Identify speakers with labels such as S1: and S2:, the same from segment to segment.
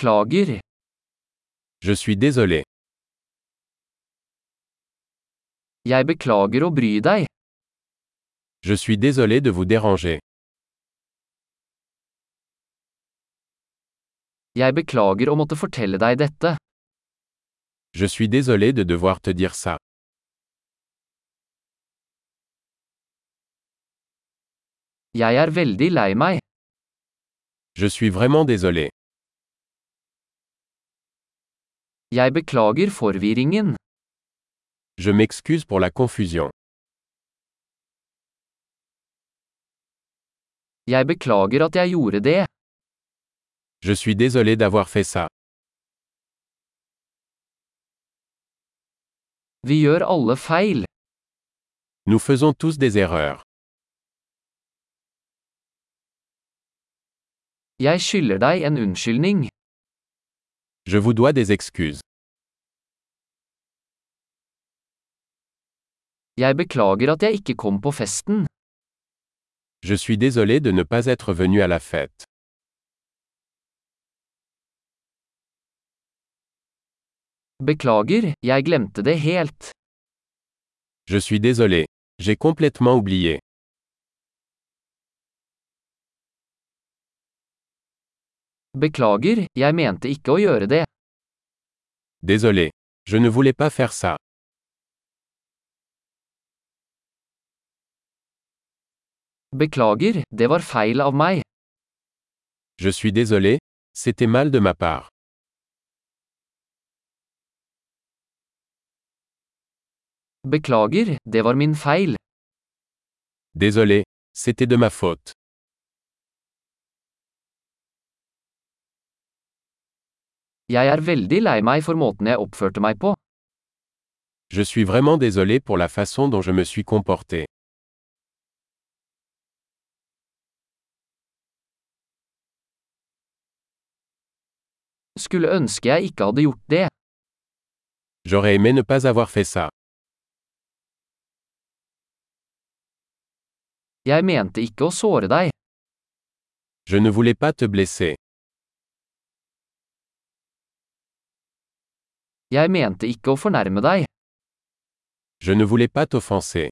S1: Beklager.
S2: Je suis désolé.
S1: Jeg beklager å bry deg.
S2: Je suis désolé de vous déranger.
S1: Jeg beklager å måtte fortelle deg dette.
S2: Je suis désolé de devoir te dire ça.
S1: Jeg er veldig lei meg.
S2: Je suis vraiment désolé.
S1: Jeg beklager forvirringen.
S2: Je m'excuse pour la confusion.
S1: Jeg beklager at jeg gjorde det.
S2: Je suis désolé d'avoir fait ça.
S1: Vi gjør alle feil.
S2: Nous faisons tous des erreurs.
S1: Jeg skylder deg en unnskyldning.
S2: Je vous dois des excuses.
S1: Jeg beklager at jeg ikke kom på festen.
S2: Je suis désolé de ne pas être venu à la fête.
S1: Beklager, jeg glemte det helt.
S2: Je suis désolé. J'ai complètement oublié.
S1: Beklager, jeg mente ikke å gjøre det.
S2: Désolé. Je ne voulais pas faire ça.
S1: Beklager, det var feil av meg.
S2: Je suis désolé. C'était mal de ma part.
S1: Beklager, det var min feil.
S2: Désolé. C'était de ma faute.
S1: Jeg er veldig lei meg for måten jeg oppførte meg på.
S2: Je suis vraiment désolé pour la façon dont je me suis comporté.
S1: Skulle ønske jeg ikke hadde gjort det.
S2: J'aurais aimé ne pas avoir fait ça.
S1: Jeg mente ikke å såre deg.
S2: Je ne voulais pas te blesser.
S1: Jeg mente ikke å fornærme deg.
S2: Je ne voulais pas t'offenser.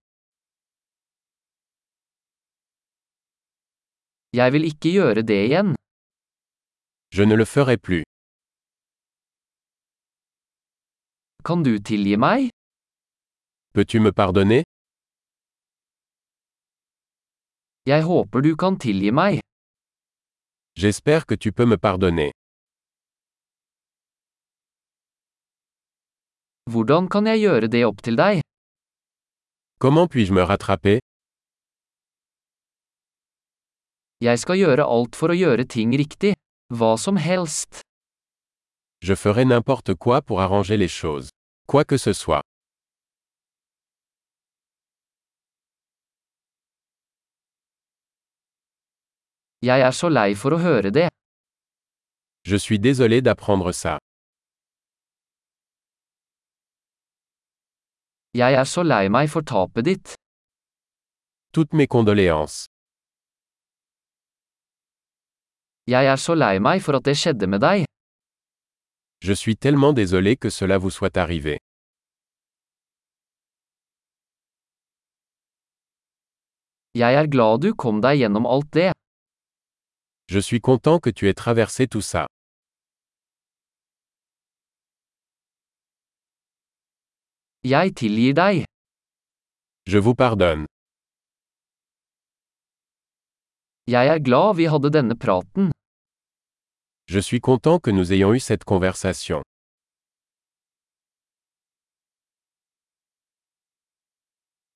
S1: Jeg vil ikke gjøre det igjen.
S2: Je ne le ferai plus.
S1: Kan du tilgi meg?
S2: Peux-tu me pardonner
S1: Jeg håper du kan tilgi meg.
S2: J'espère que tu peux me pardonner.
S1: Hvordan kan jeg gjøre det opp til deg?
S2: Comment puis-je me rattraper
S1: Jeg skal gjøre alt for å gjøre ting riktig. Hva som helst.
S2: Je ferai n'importe quoi pour arranger les choses. Quoi que ce soit.
S1: Jeg er så lei for å høre det.
S2: Je suis désolé d'apprendre ça.
S1: Jeg er så lei meg for tapet ditt.
S2: Toutes mes condoléances.
S1: Jeg er så lei meg for at det skjedde med deg.
S2: Je suis tellement désolé que cela vous soit arrivé.
S1: Jeg er glad du kom deg gjennom alt det.
S2: Je suis content que tu aies traversé tout ça.
S1: Jeg tilgir deg.
S2: Je vous pardonne.
S1: Jeg er glad vi hadde denne praten.
S2: Je suis content que nous ayons eu cette conversation.